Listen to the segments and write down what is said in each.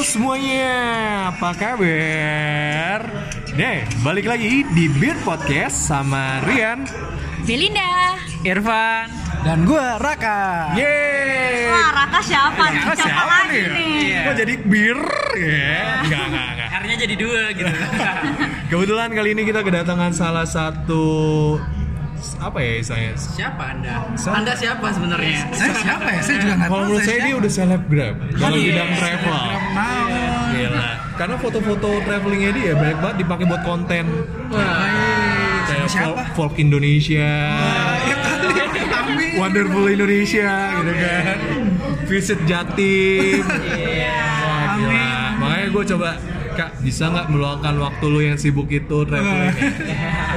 semuanya, apa kabar? Deh, balik lagi di Beer Podcast sama Rian, Zelinda. Irfan dan gue Raka. Yeay! Wah, Raka siapa nih? Raka Eh, Siapa, siapa lagi nih? nih? Iya. Kok jadi bir? Ya, enggak, enggak, enggak. R-nya jadi dua gitu Kebetulan kali ini kita kedatangan salah satu apa ya istilahnya? siapa anda Siapa? anda siapa sebenarnya Saya siapa ya? Saya juga nggak tahu. Kalau menurut saya dia udah selebgram dalam Iya. bidang travel. mau. Gila. Karena foto-foto travelingnya dia banyak banget dipakai buat konten. Kayak Siapa? Folk, folk Indonesia, Wonderful Indonesia, gitu kan. Visit Jatim. Wah, gila. Makanya gue coba Kak, bisa nggak meluangkan waktu lu yang sibuk itu traveling?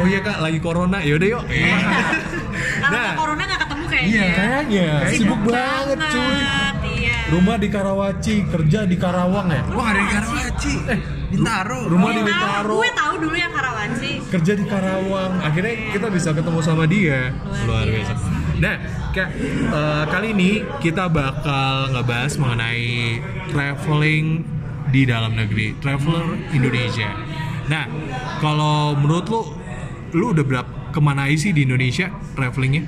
oh iya kak, lagi corona, yaudah yuk. Karena Nah. corona nggak ketemu kayaknya. Iya, Kayaknya Sibuk banget, cuy. Iya. Rumah di Karawaci, kerja di Karawang ya? Gue nggak dari Karawaci. Bintaro. Eh, Rumah di Nah, Bintaro. Eh, gue tahu dulu yang Karawaci. kerja di Karawang. Akhirnya kita bisa ketemu sama dia. Luar biasa. Nah, Kak, eh, kali ini kita bakal ngebahas mengenai traveling di dalam negeri, traveler Indonesia. Nah, kalau menurut lu, lu udah berapa kemana aja sih di Indonesia travelingnya?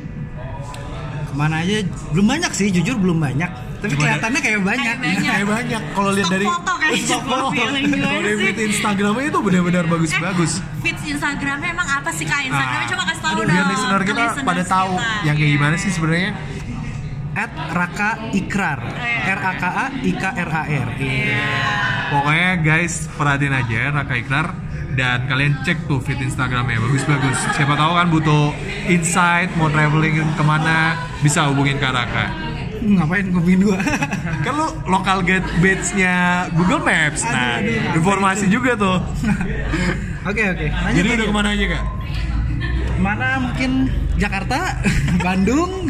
Kemana aja? Belum banyak sih, jujur belum banyak. Tapi Cuma kelihatannya kayak banyak. Kayak banyak. Kayak banyak kalau lihat Stok dari foto kayaknya, stok gua foto. feeling gue Kalau dari sih. feed Instagramnya itu benar-benar Eh, bagus-bagus. Feeds Instagramnya emang apa sih kak? Instagramnya Ah. coba kasih tahu Aduh, dong. biar listener ke kita pada listeners tahu kita. yang kayak Iya. gimana sih sebenarnya. At Raka Ikrar. Iya. R A K A I K R A R. Pokoknya guys perhatiin aja Raka Ikrar dan kalian cek tuh feed Instagramnya bagus-bagus. Siapa tahu kan butuh insight mau traveling kemana bisa hubungin Kak Raka. Ngapain ngopiin dua? Kan lu lokal get nya Google Maps. Nah, Aduh, aduh, informasi juga tuh. Oke oke. Lanjut Jadi lagi. udah kemana aja kak? Mana mungkin Jakarta, Bandung.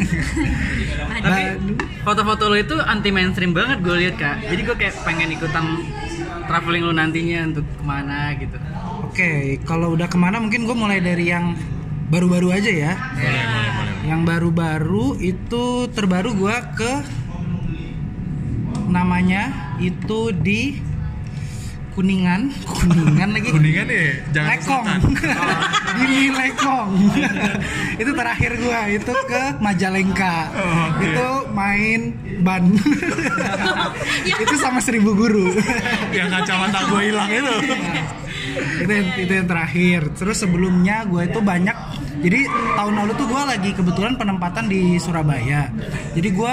tapi Bandung. foto-foto lo itu anti mainstream banget gue lihat kak jadi gue kayak pengen ikutan traveling lo nantinya untuk kemana gitu Oke, kalau udah kemana mungkin gue mulai dari yang baru-baru aja ya. Yang baru-baru itu terbaru gue ke namanya itu di Kuningan, Kuningan lagi. Kuningan ya, jangan Lekong. di Lekong. itu terakhir gue itu ke Majalengka. Oh, oke. Itu main ban. itu sama seribu guru. Yang kacamata gue hilang itu. itu yang, itu yang terakhir terus sebelumnya gue itu banyak jadi tahun lalu tuh gue lagi kebetulan penempatan di Surabaya jadi gue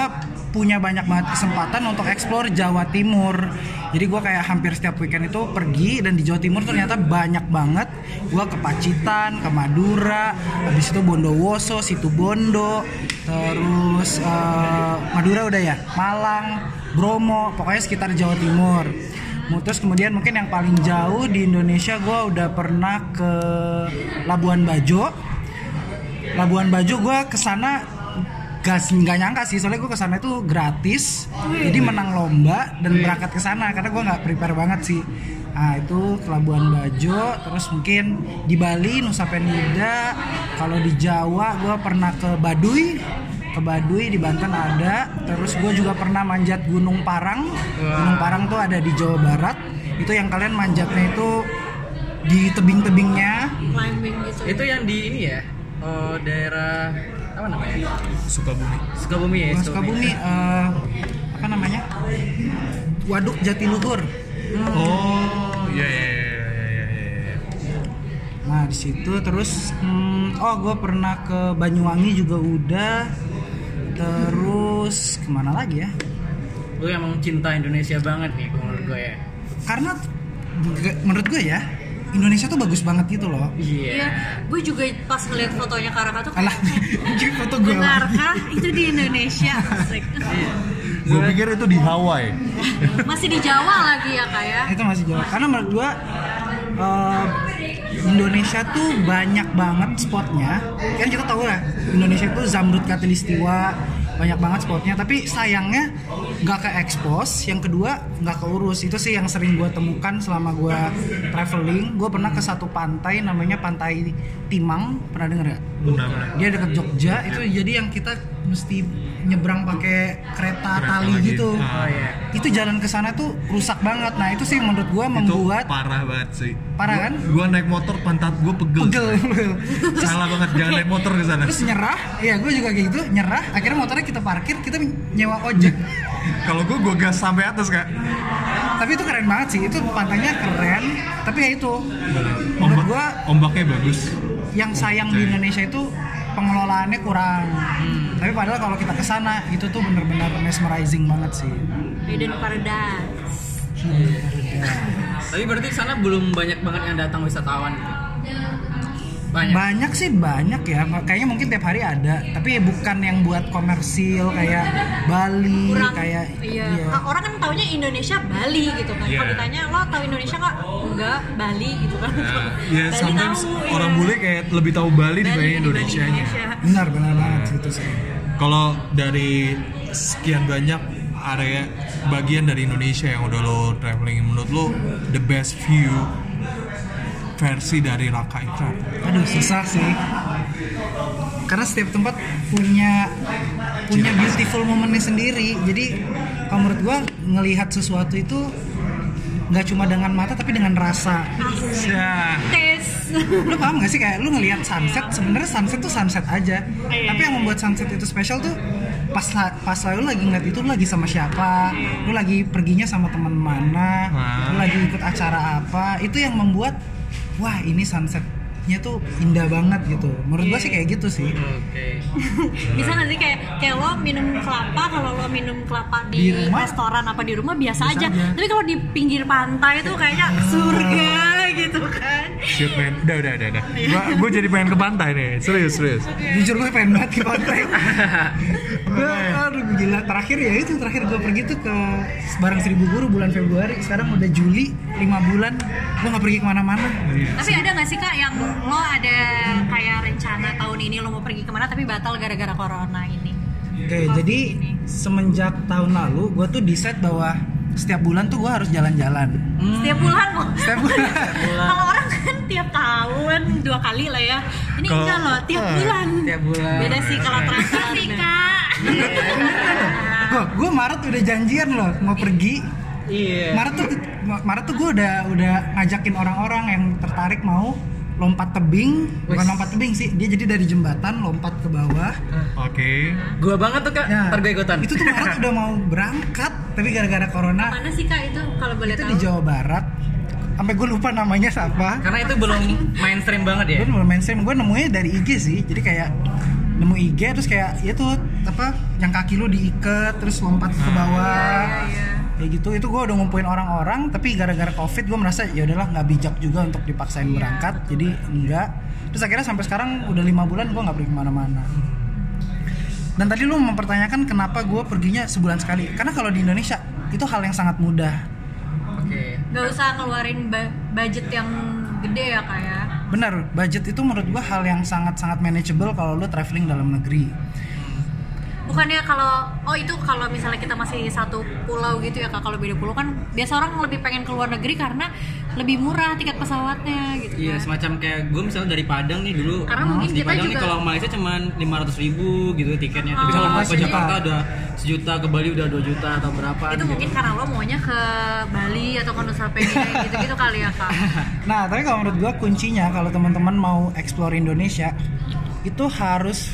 punya banyak banget kesempatan untuk explore Jawa Timur jadi gue kayak hampir setiap weekend itu pergi dan di Jawa Timur ternyata banyak banget gue ke Pacitan ke Madura habis itu Bondowoso situ Bondo terus eh, Madura udah ya Malang Bromo pokoknya sekitar Jawa Timur Mu- Terus kemudian mungkin yang paling jauh di Indonesia gue udah pernah ke Labuan Bajo. Labuan Bajo gue kesana gas nggak nyangka sih soalnya gue kesana itu gratis jadi menang lomba dan berangkat kesana karena gue nggak prepare banget sih nah itu ke Labuan Bajo terus mungkin di Bali Nusa Penida kalau di Jawa gue pernah ke Baduy ke Baduy di Banten ada terus gue juga pernah manjat Gunung Parang Gunung Parang tuh ada di Jawa Barat itu yang kalian manjatnya itu di tebing-tebingnya Climbing gitu. itu yang di ini ya oh, daerah apa namanya Sukabumi. Sukabumi ya Mas Kabumi eh, apa namanya? Waduk Jatiluhur. Oh, iya iya iya iya iya. Nah di situ terus hmm, oh gue pernah ke Banyuwangi juga udah. Terus kemana lagi ya? lu emang cinta Indonesia banget nih kalau menurut gue ya Karena g- menurut gue ya Indonesia tuh bagus banget gitu loh. iya Iya, gue juga pas ngeliat fotonya Kak Raka tuh kayak, "Eh, Alah, ini foto gue. benarkah itu di Indonesia? Asik. Iya. Gue pikir itu di Hawaii. Masih di Jawa lagi ya kak ya? itu masih jauh karena menurut gua eh, Indonesia tuh banyak banget spotnya kan kita tahu lah Indonesia tuh Zamrud Katulistiwa banyak banget spotnya tapi sayangnya nggak ke expose yang kedua nggak keurus itu sih yang sering gua temukan selama gua traveling gua pernah ke satu pantai namanya pantai Timang pernah denger ya? nggak? Benar-benar. Ya. dia dekat Jogja itu jadi yang kita mesti nyebrang pakai kereta Kereta tali lagi. gitu. Ah. Itu jalan ke sana tuh rusak banget. Nah, itu sih menurut gua itu membuat parah banget sih Parah Gua- kan? gua naik motor pantat gua pegel, pegel. salah banget jangan naik motor ke sana Terus nyerah, ya gue juga kayak gitu, nyerah. Akhirnya motornya kita parkir, kita nyewa ojek. kalau gua gua gas sampai atas kak tapi itu keren banget sih, itu pantainya keren. Tapi ya itu, menurut Ombak- gua ombaknya bagus yang sayang di Indonesia itu pengelolaannya kurang. Hmm. Tapi padahal kalau kita ke sana itu tuh bener-bener mesmerizing banget sih. Medan Paradise. Iya, Iya. Tapi berarti sana belum banyak banget yang datang wisatawan. gitu. Banyak. Banyak sih banyak ya, kayaknya mungkin tiap hari ada. Tapi ya bukan yang buat komersil kayak Bali, Kurang kayak iya. iya. Orang kan taunya Indonesia Bali gitu kan. Iya. Kalau ditanya lo tau Indonesia nggak? Enggak, Bali gitu kan. Nah, ya Bali sometimes tahu, iya. orang bule kayak lebih tahu Bali Bali dibanding dibanding Indonesia Indonesia. Benar benar banget sih itu sih. Kalau dari sekian banyak area bagian dari Indonesia yang udah lo traveling menurut lo the best view versi dari Raka Ikram. Aduh susah sih. Karena setiap tempat punya punya beautiful momennya sendiri. Jadi kalau menurut gua ngelihat sesuatu itu nggak cuma dengan mata tapi dengan rasa. Ya, Tes. lu paham gak sih kayak lu ngelihat sunset sebenarnya sunset tuh sunset aja tapi yang membuat sunset itu spesial tuh pas la- pas lu lagi ngeliat itu lu lagi sama siapa lu lagi perginya sama teman mana Wah. lu lagi ikut acara apa itu yang membuat wah ini sunsetnya tuh indah banget gitu menurut gua sih kayak gitu sih Oke. Bisa nggak sih kayak kayak lo minum kelapa kalau lo minum kelapa di, Di rumah? restoran apa di rumah biasa, aja. aja. Tapi kalau di pinggir pantai tuh kayaknya surga gitu kan. shit man. Udah, udah, udah, udah. Gua, gua jadi pengen ke pantai nih. Serius, serius. jujur gue pengen banget ke pantai Gua- aduh gila terakhir ya itu terakhir gue pergi tuh ke barang seribu guru bulan Februari sekarang udah Juli 5 bulan gue nggak pergi kemana-mana Tapi ada nggak sih kak yang lo ada kayak rencana tahun ini lo mau pergi kemana tapi batal gara-gara corona ini? Oke, jadi semenjak tahun lalu gue tuh decide bahwa setiap bulan tuh gue harus jalan-jalan. Setiap bulan mau. Setiap bulan. Kalau orang kan tiap tahun dua kali lah ya. Ini Kalau- enggak loh, tiap bulan. Tiap bulan. Beda sih kalau Iya. terasa sih kak. Gue gue Maret udah janjian loh mau pergi. Iya. Maret tuh Maret tuh gue udah udah ngajakin orang-orang yang tertarik mau lompat tebing, bukan Wes. lompat tebing sih, dia jadi dari jembatan lompat ke bawah. Oke. Gua banget tuh kak, Ya, ntar gua ikutan. Itu tuh Maret udah mau berangkat, tapi gara-gara corona Mana sih kak itu kalau boleh itu tahu? di Jawa Barat. Sampai gue lupa namanya siapa. Karena itu belum mainstream banget ya. gue belum mainstream gue nemunya dari IG sih jadi kayak nemu IG terus kayak ya tuh apa yang kaki lu diikat terus lompat ke bawah kayak gitu itu gue udah ngumpulin orang-orang tapi gara-gara covid gue merasa ya udahlah nggak bijak juga untuk dipaksain berangkat jadi enggak terus akhirnya sampai sekarang udah lima bulan gue nggak pergi kemana-mana dan tadi lu mempertanyakan kenapa gue perginya sebulan sekali karena kalau di Indonesia itu hal yang sangat mudah Oke. Gak usah keluarin ba- budget yang gede ya kak ya. Benar, budget itu menurut gua hal yang sangat-sangat manageable kalau lu traveling dalam negeri. Bukannya kalau oh itu kalau misalnya kita masih satu pulau gitu ya kak kalau beda pulau kan biasa orang lebih pengen keluar negeri karena lebih murah tiket pesawatnya gitu Iya, kan. semacam kayak gue misalnya dari Padang nih dulu. Karena mungkin di kita Padang nih juga- kalau Malaysia cuman 500 ribu gitu tiketnya. Tapi Oh. kalau mau ke Sejuta. Jakarta udah sejuta, ke Bali udah 2 juta atau berapa itu gitu. mungkin karena lo maunya ke Bali atau ke Nusa Penida gitu-gitu kali ya kak. Nah, tapi kalau menurut gua kuncinya kalau teman-teman mau explore Indonesia itu harus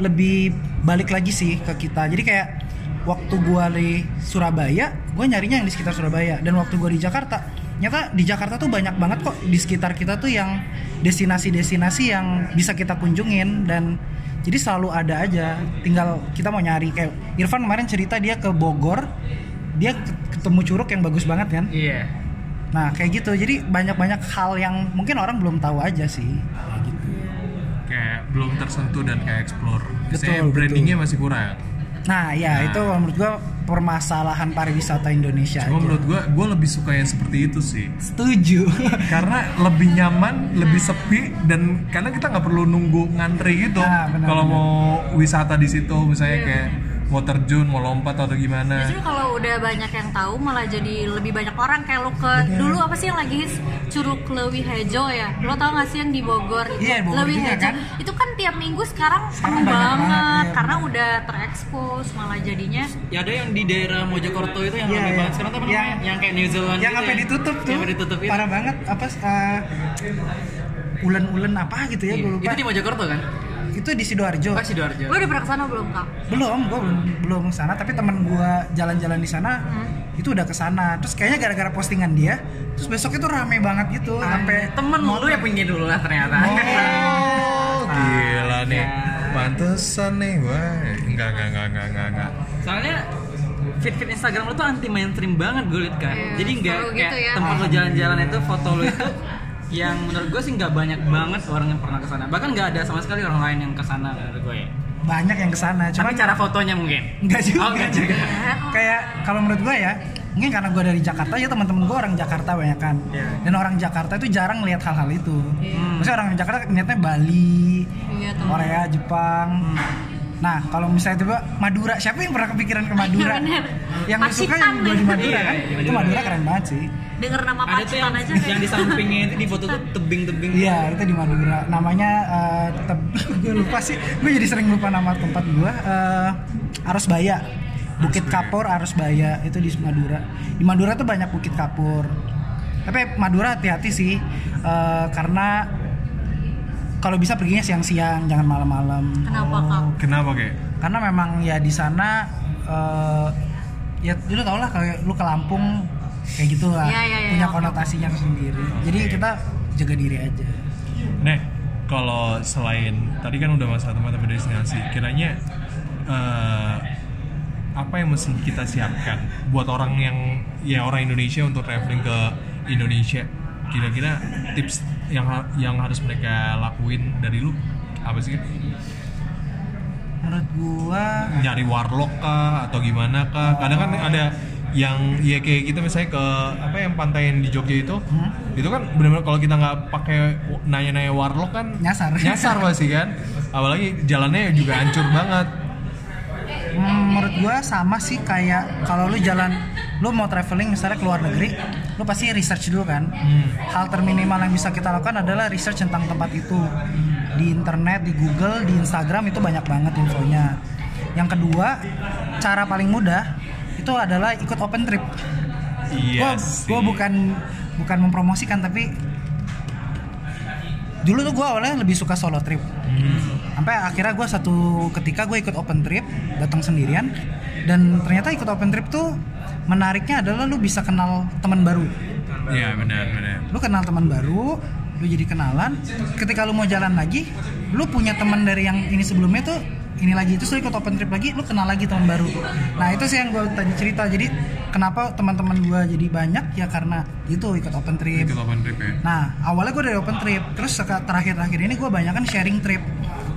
lebih balik lagi sih ke kita. Jadi kayak waktu gua di Surabaya, gua nyarinya yang di sekitar Surabaya dan waktu gua di Jakarta, nyata di Jakarta tuh banyak banget kok di sekitar kita tuh yang destinasi-destinasi yang bisa kita kunjungin dan jadi selalu ada aja. Tinggal kita mau nyari kayak Irfan kemarin cerita dia ke Bogor, dia ketemu curug yang bagus banget kan? Iya. Nah kayak gitu, jadi banyak-banyak hal yang mungkin orang belum tahu aja sih. Kayak gitu. Kayak belum tersentuh dan kayak explore. Betul, Saya betul. brandingnya masih kurang. Nah ya itu kalau menurut gua permasalahan pariwisata Indonesia. Cuma aja. menurut gua, gua lebih suka yang seperti itu sih. Setuju. Iya. karena lebih nyaman, lebih sepi dan karena kita nggak perlu nunggu ngantri gitu. Ah, benar, Kalau benar. mau wisata di situ misalnya kayak mau terjun mau lompat atau gimana Justru kalau udah banyak yang tahu malah jadi lebih banyak orang kayak lo ke dulu apa sih yang lagi hits Curug Lewi Hejo ya. Lo tau gak sih yang di Bogor itu? Iya, Bogor Leuwi juga, Hejo. kan? Itu kan tiap minggu sekarang sekarang Sekarang banyak banget, banget, iya. karena udah terekspos malah jadinya Ya ada yang di daerah Mojokerto itu yang Iya, ramai iya. banget sekarang tuh apa Yang- namanya? Yang kayak New Zealand yang gitu sampai ya. ditutup tuh Yang sampai ditutup iya. itu. parah banget apa eh, ulen-ulen apa gitu ya Iya. gue lupa Itu di Oh, Mojokerto kan? itu di sidoarjo Pas Sidoarjo. lo udah pernah kesana belum kak? belum gue belum belum kesana tapi teman gue jalan-jalan di sana Hmm. itu udah kesana terus kayaknya gara-gara postingan dia terus besok itu rame banget gitu Ah, sampai temen lu yang punya dulu lah ternyata. Ah, oh gila nih iya. Ya. pantesan nih wah enggak enggak enggak enggak enggak, enggak. Soalnya feed feed Instagram lu tuh anti mainstream banget gue liat kan. Iya, Jadi nggak selalu kayak gitu ya. tempat lu jalan-jalan itu foto lu itu yang menurut gue sih nggak banyak banget orang yang pernah kesana. Bahkan nggak ada sama sekali orang lain yang kesana menurut gue. Ya. banyak yang kesana Cuma cuma cara fotonya mungkin. Enggak juga. Oh, enggak juga. Kayak kalau menurut gue ya, mungkin karena gue dari Jakarta ya teman-teman gue orang Jakarta banyak kan. Iya. Dan orang Jakarta itu jarang lihat hal-hal itu. Hmm. Iya. Maksudnya orang Jakarta niatnya Bali, Iya, teman. Korea, Jepang. Nah, kalau misalnya tiba Madura, siapa yang pernah kepikiran ke Madura? Iya, bener. yang gue suka Pacitan yang gue di nih. Madura Iya, kan. iya, Itu Madura. Madura keren banget sih. Denger nama Ada tuh yang, Pacitan aja gitu? yang di sampingnya itu di foto tuh tebing-tebing. Iya, itu di Madura. Namanya eh, tetap gue lupa sih. Gue jadi sering lupa nama tempat gue. Eh, Arosbaya. Bukit Kapur Arosbaya itu di Madura. Di Madura tuh banyak bukit kapur. Tapi Madura hati-hati sih eh, karena kalau bisa perginya siang-siang, jangan malam-malam. Kenapa kak? kenapa kayak Karena memang ya di sana eh, ya dulu tau lah kayak lu ke Lampung kayak gitu lah. Iya, iya, iya, punya oke, konotasinya sendiri. Jadi Oke. kita jaga diri aja. Nek, kalau selain tadi kan udah masalah tempat-tempat destinasi, kiranya eh, apa yang mesti kita siapkan buat orang yang ya orang Indonesia untuk traveling ke Indonesia? Kira-kira tips yang ha- yang harus mereka lakuin dari lu apa sih? Menurut gua Nyari warlock kah atau gimana kah? Kadang kan ada yang ya kayak kita misalnya ke apa yang pantai yang di Jogja itu Hmm? itu kan benar-benar kalau kita nggak pakai nanya-nanya warlock kan Nyasar. nyasar pasti kan apalagi jalannya juga hancur banget Hmm, menurut gua sama sih kayak kalau lu jalan lu mau traveling misalnya ke luar negeri lu pasti research dulu kan hal terminimal yang bisa kita lakukan adalah research tentang tempat itu di internet di Google di Instagram itu banyak banget infonya yang kedua cara paling mudah itu adalah ikut open trip iya Gua gua bukan bukan mempromosikan tapi dulu tuh gua awalnya lebih suka solo trip sampai akhirnya gue satu ketika gue ikut open trip datang sendirian dan ternyata ikut open trip tuh menariknya adalah lu bisa kenal teman baru iya benar benar lu kenal teman baru lu jadi kenalan ketika lu mau jalan lagi lu punya teman dari yang ini sebelumnya tuh ini lagi itu lu ikut open trip lagi lu kenal lagi teman baru nah itu sih yang gue tadi cerita jadi kenapa teman-teman gue jadi banyak ya karena itu ikut open trip itu open trip ya Nah, awalnya gue dari open trip, terus seka- terakhir-terakhir ini gue banyak kan sharing trip.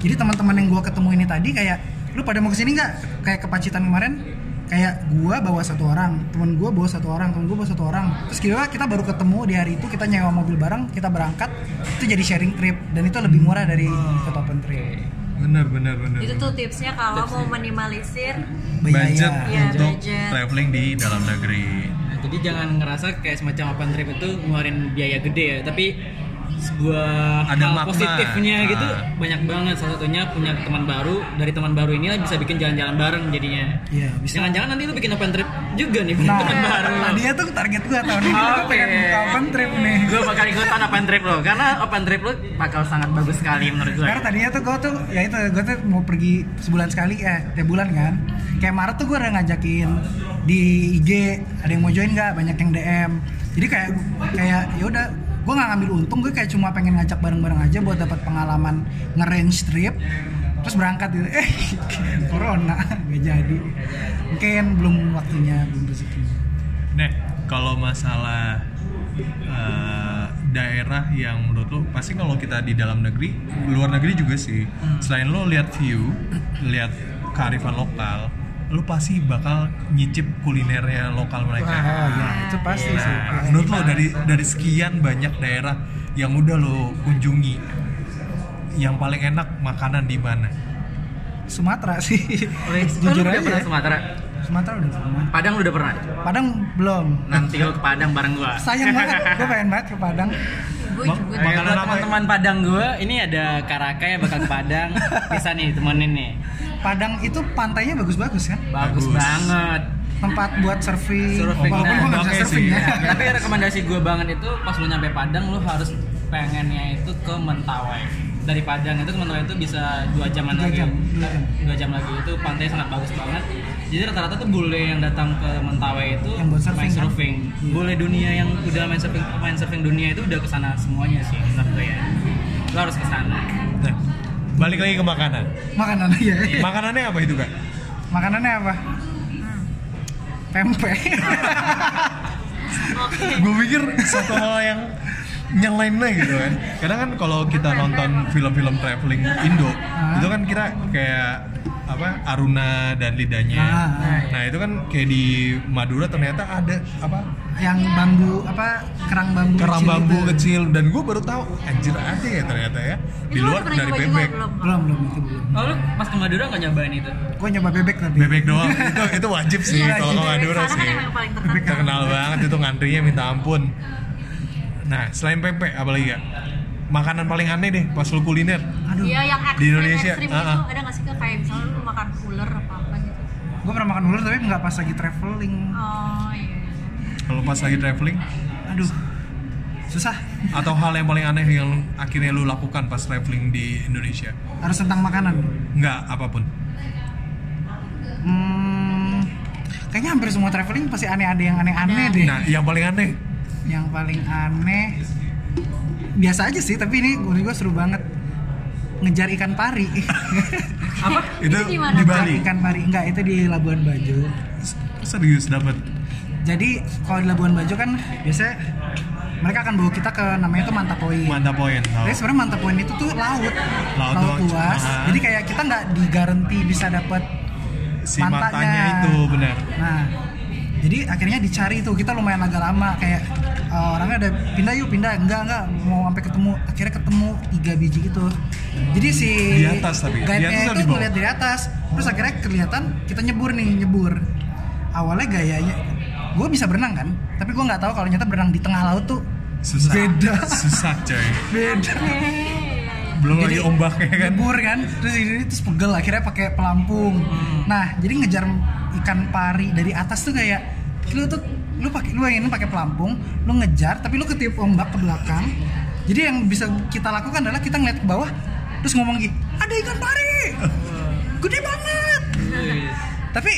Jadi teman-teman yang gue ketemu ini tadi kayak, lu pada mau kesini nggak? Kayak ke Pacitan kemarin, kayak gue bawa satu orang, temen gue bawa satu orang, temen gue bawa satu orang. Terus kira kita baru ketemu di hari itu, kita nyewa mobil bareng, kita berangkat, itu jadi sharing trip dan itu lebih murah dari ikut open trip. benar benar benar Itu tuh tipsnya kalau mau minimalisir budget Bayar. Iya, untuk budget. traveling di dalam negeri Nah, jadi jangan ngerasa kayak semacam open trip itu ngeluarin biaya gede ya, tapi sebuah Ada hal makna. positifnya Ah. gitu banyak banget salah satunya punya teman baru dari teman baru ini bisa bikin jalan-jalan bareng jadinya Iya, bisa. jangan-jangan nanti lu bikin open trip juga nih punya Nah, teman baru tadinya tuh target gue tahun ini gue pengen buka open trip nih. gue bakal ikutan open trip lo karena open trip lo bakal sangat bagus sekali menurut gue Karena tadinya tuh gue tuh ya itu gue tuh mau pergi sebulan sekali eh tiap bulan kan. Kayak Maret tuh gue udah ngajakin di IG ada yang mau join nggak banyak yang DM. Jadi kayak kayak ya udah gue nggak ngambil untung gue kayak cuma pengen ngajak bareng-bareng aja buat dapat pengalaman nge-range trip terus berangkat gitu eh corona gak jadi mungkin belum waktunya belum rezekinya Nek, kalau masalah eh, daerah yang menurut lo pasti kalau kita di dalam negeri, luar negeri juga sih. Selain lo lihat view, lihat kearifan lokal, lo pasti bakal nyicip kulinernya lokal mereka. oh ya itu pasti sih Nah, menurut lo dari dari sekian banyak daerah yang udah lo kunjungi, yang paling enak makanan di mana? Sumatera sih. Jujur Jujur udah pernah aja. ya. Sumatera. Sumatera udah pernah. Padang lu udah pernah. Padang belum. Nanti lo ke Padang bareng gua. Sayang banget, gue pengen banget ke Padang. Gue Mak- mak- juga. Eh, Makanan apa buat ya? teman-teman Padang gua, ini ada Karaka yang bakal ke Padang. Bisa nih temenin nih. Padang itu pantainya bagus-bagus kan? Bagus, Bagus. banget. Tempat buat surfing. Surfing. Walaupun gue nggak Oke bisa sih. surfing ya. Tapi rekomendasi gua banget itu pas lu nyampe Padang lu harus pengennya itu ke Mentawai. Dari Padang itu ke Mentawai itu bisa dua jaman Dua lagi. jam, dua jam. dua jam lagi itu pantai sangat bagus banget jadi rata-rata tuh bule yang datang ke Mentawai itu Yang buat surfing, main kan? surfing bule dunia yang udah main surfing main surfing dunia itu udah kesana semuanya sih menurut gue ya lo harus kesana Nah, balik lagi ke makanan. Makanan ya. Makanannya apa itu, Kak? Makanannya apa? Pempek. Oke. Gue pikir satu hal yang yang lainnya gitu kan. Karena kan kalau kita nonton film-film traveling Indo, itu kan kita kayak apa Aruna dan lidahnya. Ah, ah. Nah, itu kan kayak di Madura ternyata ada apa Yang bambu apa kerang bambu kerang kecil bambu itu. kecil dan gue baru tahu anjir aja ya ternyata ya di Itu lo luar udah pernah dari nyoba juga bebek belum? Belum, belum itu belum. oh lu pas ke Madura nggak nyobain itu Gue nyoba bebek tapi. bebek doang itu itu wajib sih Iya, kalau wajib. ke Madura Sana sih kan emang yang paling terkenal. terkenal banget itu ngantrinya minta ampun nah selain pempek apalagi ya makanan paling aneh deh pas lu kuliner Aduh. Iya yang ekstrim, Di Indonesia, ekstrim ah, itu ah. ada nggak sih Kak, kayak misalnya lu makan ular apa apa gitu? Gue pernah makan ular tapi nggak pas lagi traveling. Oh iya. kalau pas lagi traveling Aduh. Susah. atau hal yang paling aneh yang akhirnya lu lakukan pas traveling di Indonesia Harus tentang makanan. nggak apapun Hmm, kayaknya hampir semua traveling pasti aneh-aneh yang aneh-aneh deh. nah yang paling aneh Yang paling aneh biasa aja sih, tapi ini menurut gue seru banget ngejar ikan pari. apa itu Itu di mana, di Kak? Bali ikan pari enggak itu di Labuan Bajo. S- serius dapat Jadi kalau di Labuan Bajo kan biasa mereka akan bawa kita ke namanya tuh Mantapoi. mantap poin tau. Tapi sebenarnya Mantapoi itu tuh laut, Laut doang. luas. Ah. Jadi kayak kita nggak digaranti bisa dapat si matanya itu benar Nah, jadi akhirnya dicari tuh kita lumayan agak lama kayak uh, orangnya ada pindah yuk pindah enggak enggak mau sampai ketemu akhirnya ketemu tiga biji gitu. Jadi si Di atas tapi, di guide-nya atas atau itu di bawah? ngeliat dari atas. Terus akhirnya kelihatan kita nyebur nih nyebur. Awalnya gayanya gue bisa berenang kan, tapi gue nggak tahu kalau ternyata berenang di tengah laut tuh Nah, susah Beda. susah coy beda. belum lagi ombaknya kan nyebur kan terus ini terus pegel akhirnya pakai pelampung nah jadi ngejar ikan pari dari atas tuh kayak lu tuh lu pakai lu yang ini pakai pelampung lu ngejar tapi lu ketiup ombak ke belakang jadi yang bisa kita lakukan adalah kita ngeliat ke bawah terus ngomong gini ada ikan pari gede banget tapi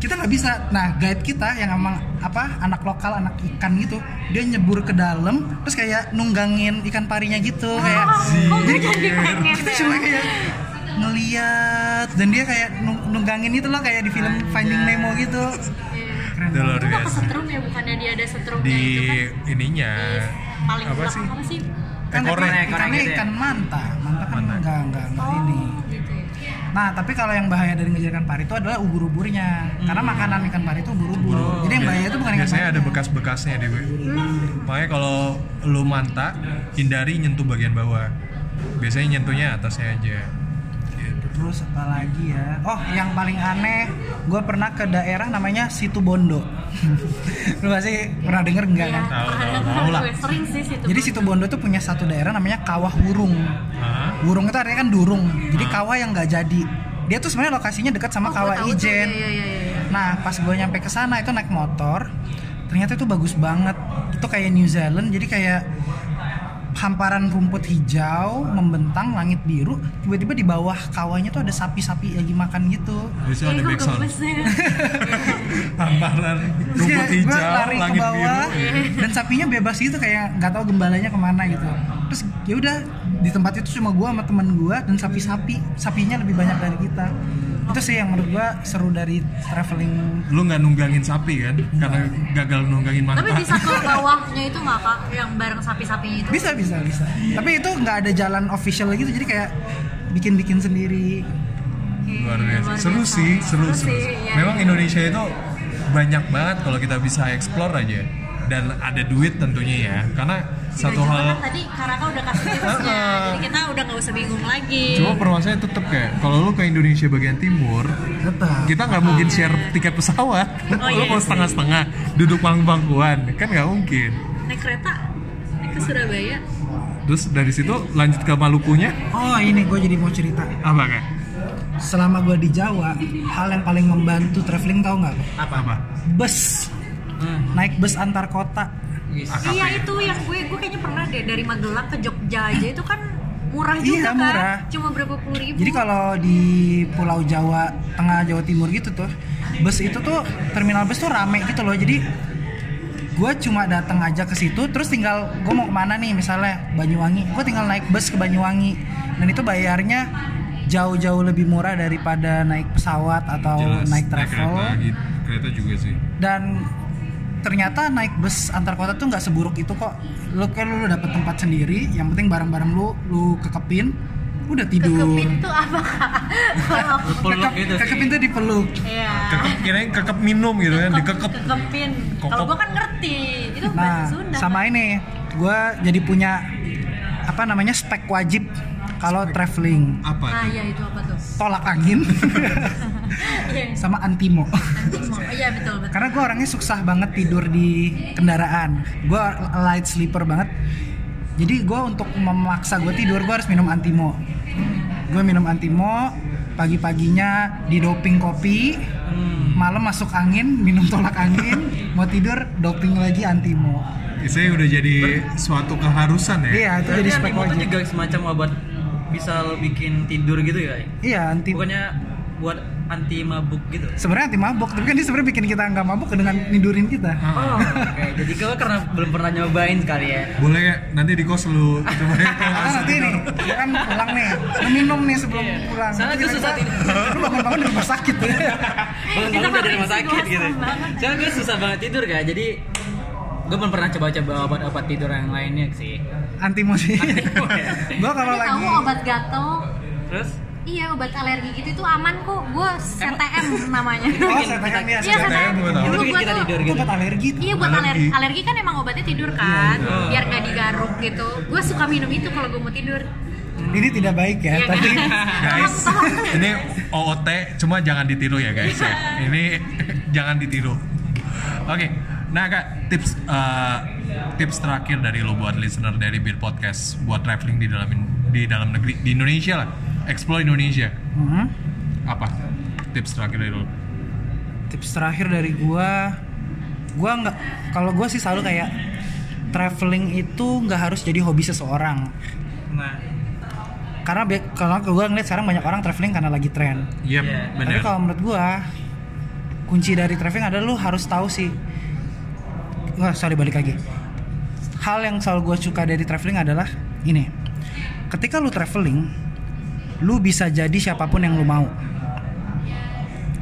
kita nggak bisa nah guide kita yang emang apa anak lokal anak ikan gitu dia nyebur ke dalam terus kayak nunggangin ikan parinya gitu kayak Oh, gue jadi pengen. ya? kita cuma kayak ngeliat dan dia kayak nung- nunggangin itu loh kayak di film Finding Nemo gitu itu luar Itu nggak biasa kesetrum ya bukannya dia ada setrumnya di itu kan? ininya Di paling apa belakang sih apa sih? kan Ekornya. tapi Ekornya gitu ikannya ya? ikan manta manta kan Manta. enggak enggak enggak Oh, ini gitu ya. nah tapi kalau yang bahaya dari ngejar ikan pari itu adalah ubur-uburnya karena makanan ikan pari itu ubur-ubur jadi yang bahaya itu bukan ikan Oh, biasanya pari ada bekas-bekasnya deh gue makanya kalau lu manta hindari nyentuh bagian bawah biasanya nyentuhnya atasnya aja gitu. terus apa lagi ya oh yang paling aneh gue pernah ke daerah namanya Situbondo lu pasti pernah denger enggak Iya, kan Tahu, pernah tahu, pernah tahu lah. gue sering sih situ. jadi Situbondo tuh punya satu daerah namanya Kawah Wurung Hah? Burung itu artinya kan durung. Jadi kawah yang nggak jadi. Dia tuh sebenarnya lokasinya dekat sama Oh, gue kawah tahu tuh, Ijen. Iya iya iya. iya. Nah, pas gue nyampe ke sana itu naik motor, ternyata itu bagus banget. Itu kayak New Zealand, jadi kayak hamparan rumput hijau membentang langit biru. Tiba-tiba di bawah kawahnya tuh ada sapi-sapi lagi makan gitu. biasanya Iya, ada gue backsound gemes deh. hamparan rumput Iya, gua hijau lari langit biru ke bawah, dan sapinya bebas gitu kayak nggak tahu gembalanya kemana gitu terus ya udah di tempat itu cuma gua sama temen gua dan sapi-sapi sapinya lebih banyak dari kita itu sih yang menurut gua seru dari traveling lu nggak nunggangin sapi kan karena gagal nunggangin manta Tapi bisa ke bawahnya itu nggak kak? Yang bareng sapi-sapinya itu? bisa bisa bisa tapi itu nggak ada jalan official gitu jadi kayak bikin-bikin sendiri Iya, luar biasa seru sih seru seru, iya. memang Indonesia itu banyak banget kalau kita bisa explore aja dan ada duit tentunya ya karena satu Cuma hal kan tadi Karaka udah kasih tipsnya, jadi kita udah nggak usah bingung lagi. cuma permasalahannya tetap kayak kalau lu ke Indonesia bagian timur tetap kita nggak mungkin share tiket pesawat iya. Oh, lu iya mau sih. setengah-setengah duduk pangkuan kan nggak mungkin Naik kereta, naik ke Surabaya. terus dari situ lanjut ke Malukunya oh ini gue jadi mau cerita apa kan selama gue di Jawa hal yang paling membantu traveling tau nggak apa apa bus Hmm. naik bus antar kota AKP Iya ya? itu yang gue, gue kayaknya pernah deh dari Magelang ke Jogja aja itu kan murah Iya, juga kan, murah. cuma berapa puluh ribu. Jadi kalau di Pulau Jawa, tengah Jawa Timur gitu tuh, bus itu tuh terminal bus tuh rame gitu loh. Jadi gue cuma datang aja ke situ, terus tinggal gue mau kemana nih misalnya Banyuwangi, gue tinggal naik bus ke Banyuwangi, dan itu bayarnya jauh-jauh lebih murah daripada naik pesawat atau Jelas, Oh, naik travel. kereta, gitu. kereta juga sih Dan ternyata naik bus antar kota tuh nggak seburuk itu kok. Lu kan lu dapet tempat sendiri, yang penting barang-barang lu lu kekepin, udah tidur. Kekepin tuh apa kak? Kalau Peluk gitu sih. Kakepin tuh dipeluk. Iya. kekep kirain kekep minum gitu kan dikekep Kekepin. Kokop. Kalau gue kan ngerti, itu bahasa Nah, Sunda. sama ini gue jadi punya apa namanya spek wajib kalau traveling apa Nah tuh? iya itu apa tuh? tolak angin Iya. sama antimo Antismo. Iya betul betul. karena gue orangnya susah banget tidur di kendaraan gue light sleeper banget jadi gue untuk memaksa gue tidur gue harus minum antimo gue minum antimo pagi-paginya didoping kopi Hmm. malam masuk angin minum tolak angin mau tidur doping lagi antimo Saya udah jadi suatu keharusan ya. iya itu Jadi jadi spek animo itu wajib kan juga semacam obat bisa lo bikin tidur gitu ya? Iya anti. Bukannya buat anti mabuk gitu? Sebenarnya anti mabok, tapi kan dia sebenarnya bikin kita nggak mabuk dengan nidurin kita. Ah. Oh, oke. Jadi kau karena belum pernah nyobain kali ya? Boleh ya, nanti di kos lu coba ya. kalau masih Karena Ah, nanti nih, tidur. dia kan pulang nih, lu minum nih sebelum Iya. pulang. Soalnya Nanti gue susah tiba-tiba, Lu bangun-bangun di rumah sakit. ya. Kita Bangun-bangun dari rumah makan sakit nasi gitu. goreng banget. Soalnya gue susah banget tidur kak. Jadi gue belum pernah coba-coba obat-obat tidur yang lainnya sih. anti sih. Antimo ya. Gua Oh, kalau Tapi lagi tahu obat gatel? Terus? Iya obat alergi gitu itu aman kok. Gue CTM namanya. Oh, bikin saya kita- tanya Iya CTM CTM. gua tahu. Dulu Itu bikin gue kita tuh tidur Itu gitu. buat alergi. Iya buat alergi. Alergi. Alergi kan emang obatnya tidur kan, biar nggak digaruk gitu. Gue suka minum itu kalau gue mau tidur. Ini tidak baik ya, Iya, tapi Guys, ini OOT cuma jangan ditiru ya guys ya. Ini jangan ditiru. Oke, nah kak tips eh, tips terakhir dari lo buat listener dari Beer Podcast buat traveling di dalam di dalam negeri di Indonesia lah, explore Indonesia Mhm. apa tips terakhir dari lo? tips terakhir dari gua gua nggak kalau gua sih selalu kayak traveling itu nggak harus jadi hobi seseorang Nah, karena be- kalau gue ngeliat sekarang banyak orang traveling karena lagi tren Iya, Iya. benar. Tapi kalau menurut gua kunci dari traveling adalah lu harus tahu sih. Wah, sorry balik lagi. Hal yang selalu gua suka dari traveling adalah ini. Ketika lu traveling, lu bisa jadi siapapun yang lu mau.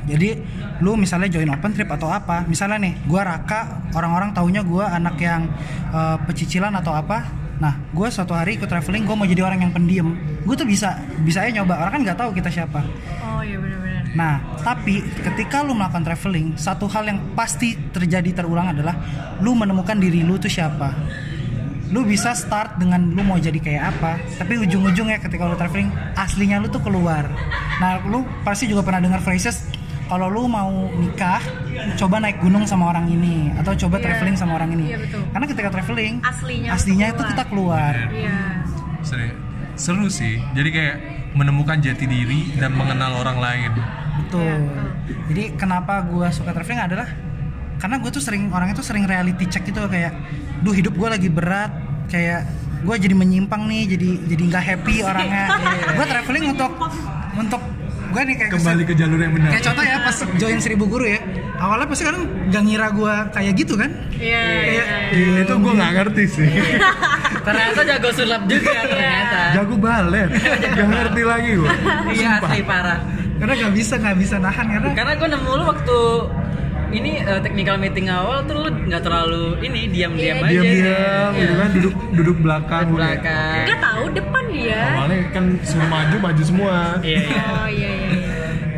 Jadi lu misalnya join open trip atau apa, misalnya nih, gua Raka, orang-orang taunya gua anak yang eh, pecicilan atau apa. Nah, gue suatu hari ikut traveling, gue mau jadi orang yang pendiam. Gue tuh bisa, bisa aja nyoba. Orang kan nggak tahu kita siapa. Oh iya benar-benar. Nah, tapi ketika lu melakukan traveling, satu hal yang pasti terjadi terulang adalah lu menemukan diri lu tuh siapa. Lu bisa start dengan lu mau jadi kayak apa, tapi ujung-ujungnya ketika lu traveling, aslinya lu tuh keluar. Nah, lu pasti juga pernah dengar phrases kalau lu mau nikah, coba naik gunung sama orang ini atau coba Iya. traveling sama orang ini. Iya, betul. Karena ketika traveling, Aslinya lu itu keluar. kita keluar. Iya. Seru, seru sih. Jadi kayak menemukan jati diri dan mengenal orang lain. Iya. Betul. Jadi kenapa gue suka traveling adalah karena gue tuh sering orangnya tuh sering reality check gitu loh, kayak, duh hidup gue lagi berat, kayak gue jadi menyimpang nih, jadi jadi nggak happy orangnya. Iya. gue traveling untuk untuk gue nih kayak Kembali ke jalur yang benar. kayak contoh ya pas join seribu guru ya awalnya pasti kan nggak ngira gue kayak gitu kan Iya. kayak Gila, itu gue nggak ngerti sih. ternyata jago sulap juga ternyata. Jago balet. Gak ngerti lagi gue. Iya, asli parah. karena nggak bisa nggak bisa nahan karena Iya. Karena gue nemu lu waktu ini eh, technical meeting awal tuh lu nggak terlalu ini diam-diam Iya, aja. Diam-diam, Iya, gitu kan duduk duduk belakang. ya. Di udah. belakang. Gak tahu depan dia. Awalnya kan suruh maju maju semua. Iya, iya. Oh iya iya. iya.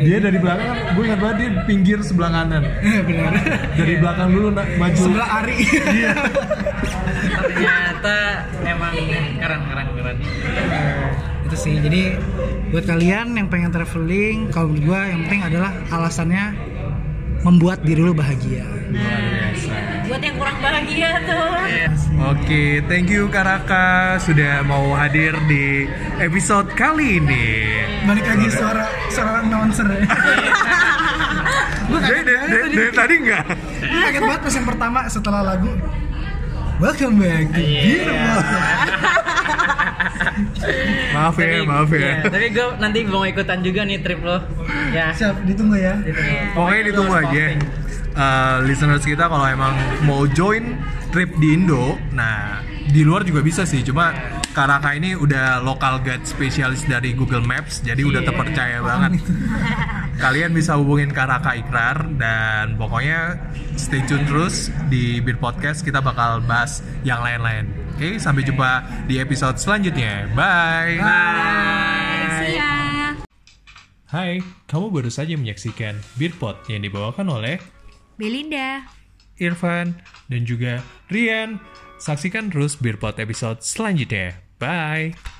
Dia dari belakang kan, gue ingat banget dia pinggir sebelah kanan. benar Dari belakang dulu nak maju. Iya. sebelah Ari ternyata emang keren keren keren itu sih jadi buat kalian yang pengen traveling kalau menurut gua yang penting adalah alasannya membuat diri lu bahagia Luar biasa. buat yang kurang bahagia tuh Oke, thank you Karaka sudah mau hadir di episode kali ini. balik lagi suara suara announcer ya. Dari, dari- dari- dari tadi nggak? kaget banget pas yang pertama setelah lagu welcome back to Birma Maaf ya, maaf ya. tapi gue nanti mau ikutan juga nih trip lo ya siap ditunggu ya Oke, ditunggu aja. Eh, listeners kita kalau emang mau join trip di Indo, nah di luar juga bisa sih. Cuma Karaka ini udah local guide spesialis dari Google Maps, jadi udah terpercaya banget. Kalian bisa hubungin Karaka Ikrar dan pokoknya stay tune terus di Beer Podcast kita bakal bahas yang lain-lain. Oke, sampai jumpa di episode selanjutnya. Bye. see ya Hai, kamu baru saja menyaksikan Beerpot yang dibawakan oleh Belinda Irfan, dan juga Rian. Saksikan terus Beerpot episode selanjutnya. Bye!